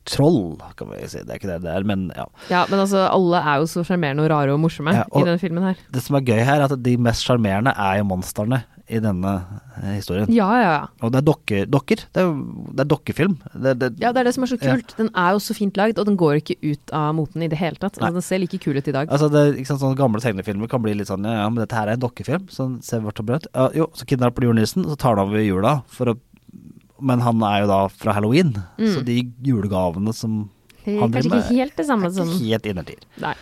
Speaker 1: troll, kan vi si. Det er ikke det det er, men ja.
Speaker 2: ja, men altså, alle er jo så sjarmerende og rare og morsomme
Speaker 1: Ja, og-
Speaker 2: i denne filmen her.
Speaker 1: Det som er gøy her, er at de mest sjarmerende er jo monstrene i denne eh, historien.
Speaker 2: Ja, ja, ja.
Speaker 1: Og det er dokker. dokker. Det, er, jo- det er dokkefilm. Det, det,
Speaker 2: Ja, det er det som er så kult. Den er jo så fint lagd, og den går ikke ut av moten i det hele tatt.
Speaker 1: Nei.
Speaker 2: Altså, den ser like kul ut i dag.
Speaker 1: Altså, det, ikke sant, sånne gamle tegnefilmer kan bli litt sånn Ja, ja, men dette her er en dokkefilm, så se vårt og brøt. Ja, jo, så kidnapper de julenissen, så tar han over jula for å Men han er jo da fra halloween, så de julegavene som
Speaker 2: Mm. Det er
Speaker 1: han
Speaker 2: Kanskje
Speaker 1: driver med,
Speaker 2: ikke helt sånn. det samme
Speaker 1: er
Speaker 2: som
Speaker 1: ikke helt innertier.
Speaker 2: Nei.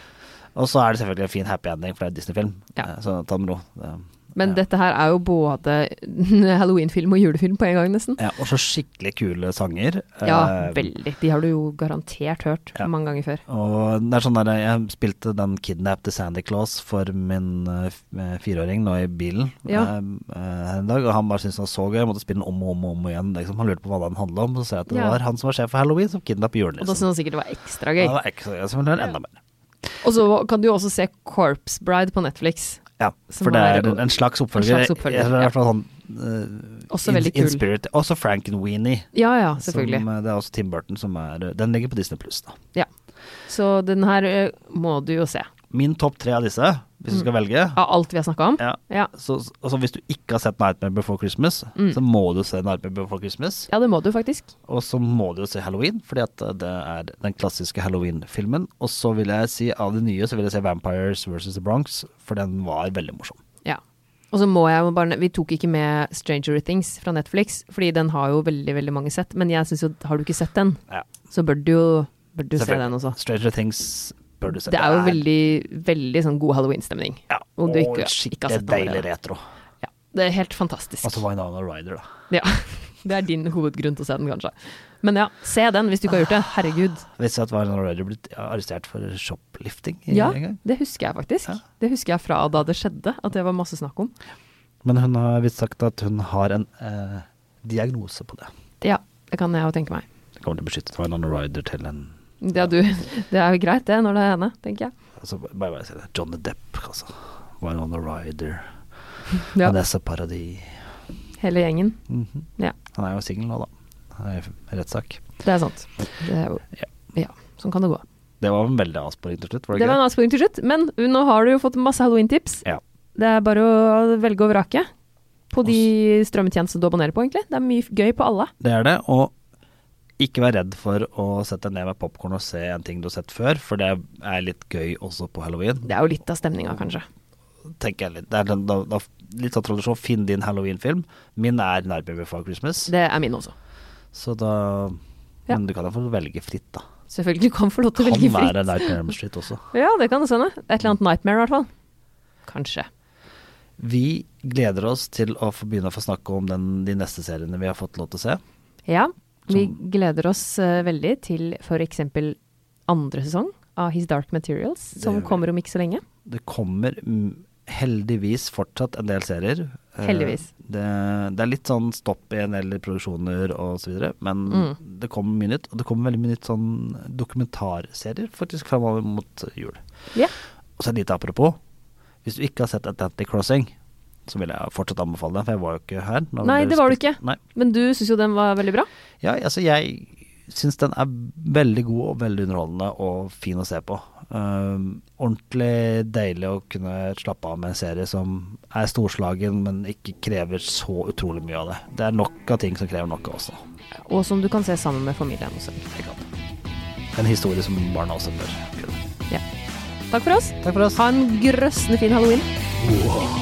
Speaker 1: Og så er det selvfølgelig en fin happy ending, for det er en Disney-film,
Speaker 2: Ja.
Speaker 1: Eh, så ta det med ro. Det-
Speaker 2: Men dette her er jo både [LAUGHS] halloweenfilm og julefilm på en gang, nesten.
Speaker 1: Ja, og så skikkelig kule sanger.
Speaker 2: Ja,
Speaker 1: Eh,
Speaker 2: veldig. De har du jo garantert hørt
Speaker 1: Ja.
Speaker 2: mange ganger før.
Speaker 1: Og det er sånn der, jeg spilte den 'Kidnap the Sandy Claus' for min eh, f- eh, fireåring nå i bilen
Speaker 2: Ja.
Speaker 1: eh, eh, en dag, og han bare syntes den var så gøy. Jeg måtte spille den om og om og om igjen. Liksom. Han lurte på hva den handla om, så sa jeg at det
Speaker 2: Ja.
Speaker 1: var han som var sjef for halloween, som kidnappet
Speaker 2: Og da
Speaker 1: julenissen.
Speaker 2: synes han sikkert det var ekstra
Speaker 1: Ja,
Speaker 2: gøy.
Speaker 1: det var ikke så gøy, så ville han enda mer.
Speaker 2: Og så kan du jo også se Corpse Bride på Netflix.
Speaker 1: Ja,
Speaker 2: Som
Speaker 1: for det
Speaker 2: var-
Speaker 1: er en- en slags oppfølger.
Speaker 2: En slags oppfølger,
Speaker 1: Jeg tror det er i hvert fall sånn
Speaker 2: Også
Speaker 1: in,
Speaker 2: veldig
Speaker 1: in
Speaker 2: kul.
Speaker 1: spirit. Også Frankenweenie.
Speaker 2: Ja ja,
Speaker 1: Som,
Speaker 2: selvfølgelig.
Speaker 1: eh, det er også Tim Burton som er eh, Den ligger på Disney pluss, da.
Speaker 2: Ja. Så den her ø, må du jo se.
Speaker 1: Min topp tre av disse, hvis du skal velge,
Speaker 2: Av alt vi har snakka om.
Speaker 1: Ja.
Speaker 2: Ja.
Speaker 1: Så, altså hvis du ikke har sett Nightmare Before Christmas, så må du se Nightmare Before Christmas.
Speaker 2: Mm. ja, det må du faktisk.
Speaker 1: Og så må du jo se Halloween, fordi at eh, det er den klassiske Halloween-filmen. Og så vil jeg si av de nye, så vil jeg si Vampires versus The Bronx, for den var veldig morsom.
Speaker 2: Ja. Og så må jeg jo bare Vi tok ikke med Stranger Things fra Netflix, fordi den har jo veldig, veldig mange sett. Men jeg syns jo Har du ikke sett den,
Speaker 1: Ja,
Speaker 2: så bør du jo bør du se
Speaker 1: selvfølgelig.
Speaker 2: den også.
Speaker 1: Stranger Things bør du se.
Speaker 2: Det er jo veldig, veldig sånn god halloween-stemning.
Speaker 1: ja,
Speaker 2: Om
Speaker 1: Og
Speaker 2: du ikke, ikke har
Speaker 1: skikkelig
Speaker 2: sett den
Speaker 1: deilig
Speaker 2: allerede.
Speaker 1: retro.
Speaker 2: Ja, det er helt fantastisk.
Speaker 1: Og så Vinana Ryder, da.
Speaker 2: Ja, [LAUGHS] det er din hovedgrunn til å se den, kanskje. Men ja, se den hvis du ikke har gjort det. Herregud.
Speaker 1: Visste at Vinana Ryder ble arrestert for shoplifting i-
Speaker 2: Ja,
Speaker 1: en gang.
Speaker 2: det husker jeg faktisk. Det husker jeg fra da det skjedde, at det var masse snakk om.
Speaker 1: Men hun har visst sagt at hun har en eh, diagnose på det.
Speaker 2: Ja, det kan jeg jo tenke meg.
Speaker 1: Det kommer til å beskytte Vinana Ryder til en
Speaker 2: Det er, du, [LAUGHS] det er jo greit det, når det er henne, tenker jeg.
Speaker 1: Altså, bare, bare si det. Johnny Depp, altså. Winona Ryder.
Speaker 2: Ja,
Speaker 1: Vanessa Paradis. Mhm.
Speaker 2: hele gjengen. Ja,
Speaker 1: Han er jo singel nå, da. Han er i rettssak.
Speaker 2: det er sant. Det er jo, ja, sånn kan det gå.
Speaker 1: Det var en veldig avsporing til slutt, var det
Speaker 2: Det
Speaker 1: ikke
Speaker 2: var en
Speaker 1: det?
Speaker 2: avsporing til slutt, men nå har du jo fått masse halloween-tips.
Speaker 1: Ja.
Speaker 2: Det er bare å velge og vrake på de strømmetjenestene du abonnerer på, egentlig. Det er mye f- gøy på alle.
Speaker 1: Det er det. Og ikke vær redd for å sette deg ned med popkorn og se en ting du har sett før, for det er litt gøy også på halloween.
Speaker 2: Det er jo litt av stemninga, kanskje.
Speaker 1: Tenker jeg litt. Det er den, da, da, litt sånn tradisjon. Finn din halloweenfilm. Min er 'Nightmare Before Christmas',
Speaker 2: Det er min også.
Speaker 1: så da
Speaker 2: Ja.
Speaker 1: Men du kan jo få velge fritt, da.
Speaker 2: Selvfølgelig du kan få lov til å
Speaker 1: Kan
Speaker 2: velge
Speaker 1: være
Speaker 2: fritt.
Speaker 1: 'Nightmare on Elm Street' også.
Speaker 2: Ja, det kan det sende. Et eller annet nightmare, i hvert fall. Kanskje.
Speaker 1: Vi gleder oss til å få begynne å få snakke om den, de neste seriene vi har fått lov til å se.
Speaker 2: Ja, vi gleder oss eh, veldig til f.eks. andre sesong av His Dark Materials, som
Speaker 1: gjør vi.
Speaker 2: kommer om ikke så lenge.
Speaker 1: Det kommer mm, heldigvis fortsatt en del serier. Eh,
Speaker 2: Heldigvis.
Speaker 1: Det, det er litt sånn stopp i en del produksjoner og så videre, men
Speaker 2: Mm.
Speaker 1: det kommer mye nytt. Og det kommer veldig mye nytt sånn dokumentarserier faktisk framover mot jul.
Speaker 2: Ja.
Speaker 1: Og så et lite apropos. Hvis du ikke har sett Atlantic Crossing, så vil jeg fortsatt anbefale den, for jeg var jo ikke her. når
Speaker 2: Nei,
Speaker 1: ble
Speaker 2: det var du
Speaker 1: spilt-
Speaker 2: ikke.
Speaker 1: Nei.
Speaker 2: Men du syns jo den var veldig bra.
Speaker 1: Ja, altså jeg syns den er veldig god og veldig underholdende og fin å se på. Um, ordentlig deilig å kunne slappe av med en serie som er storslagen, men ikke krever så utrolig mye av det. Det er nok av ting som krever nok av oss. da.
Speaker 2: Og som du kan se sammen med familien også.
Speaker 1: En historie som barna også bør kunne.
Speaker 2: Ja. Takk for oss.
Speaker 1: Takk for oss.
Speaker 2: Ha en grøssende fin halloween.
Speaker 4: Whoa.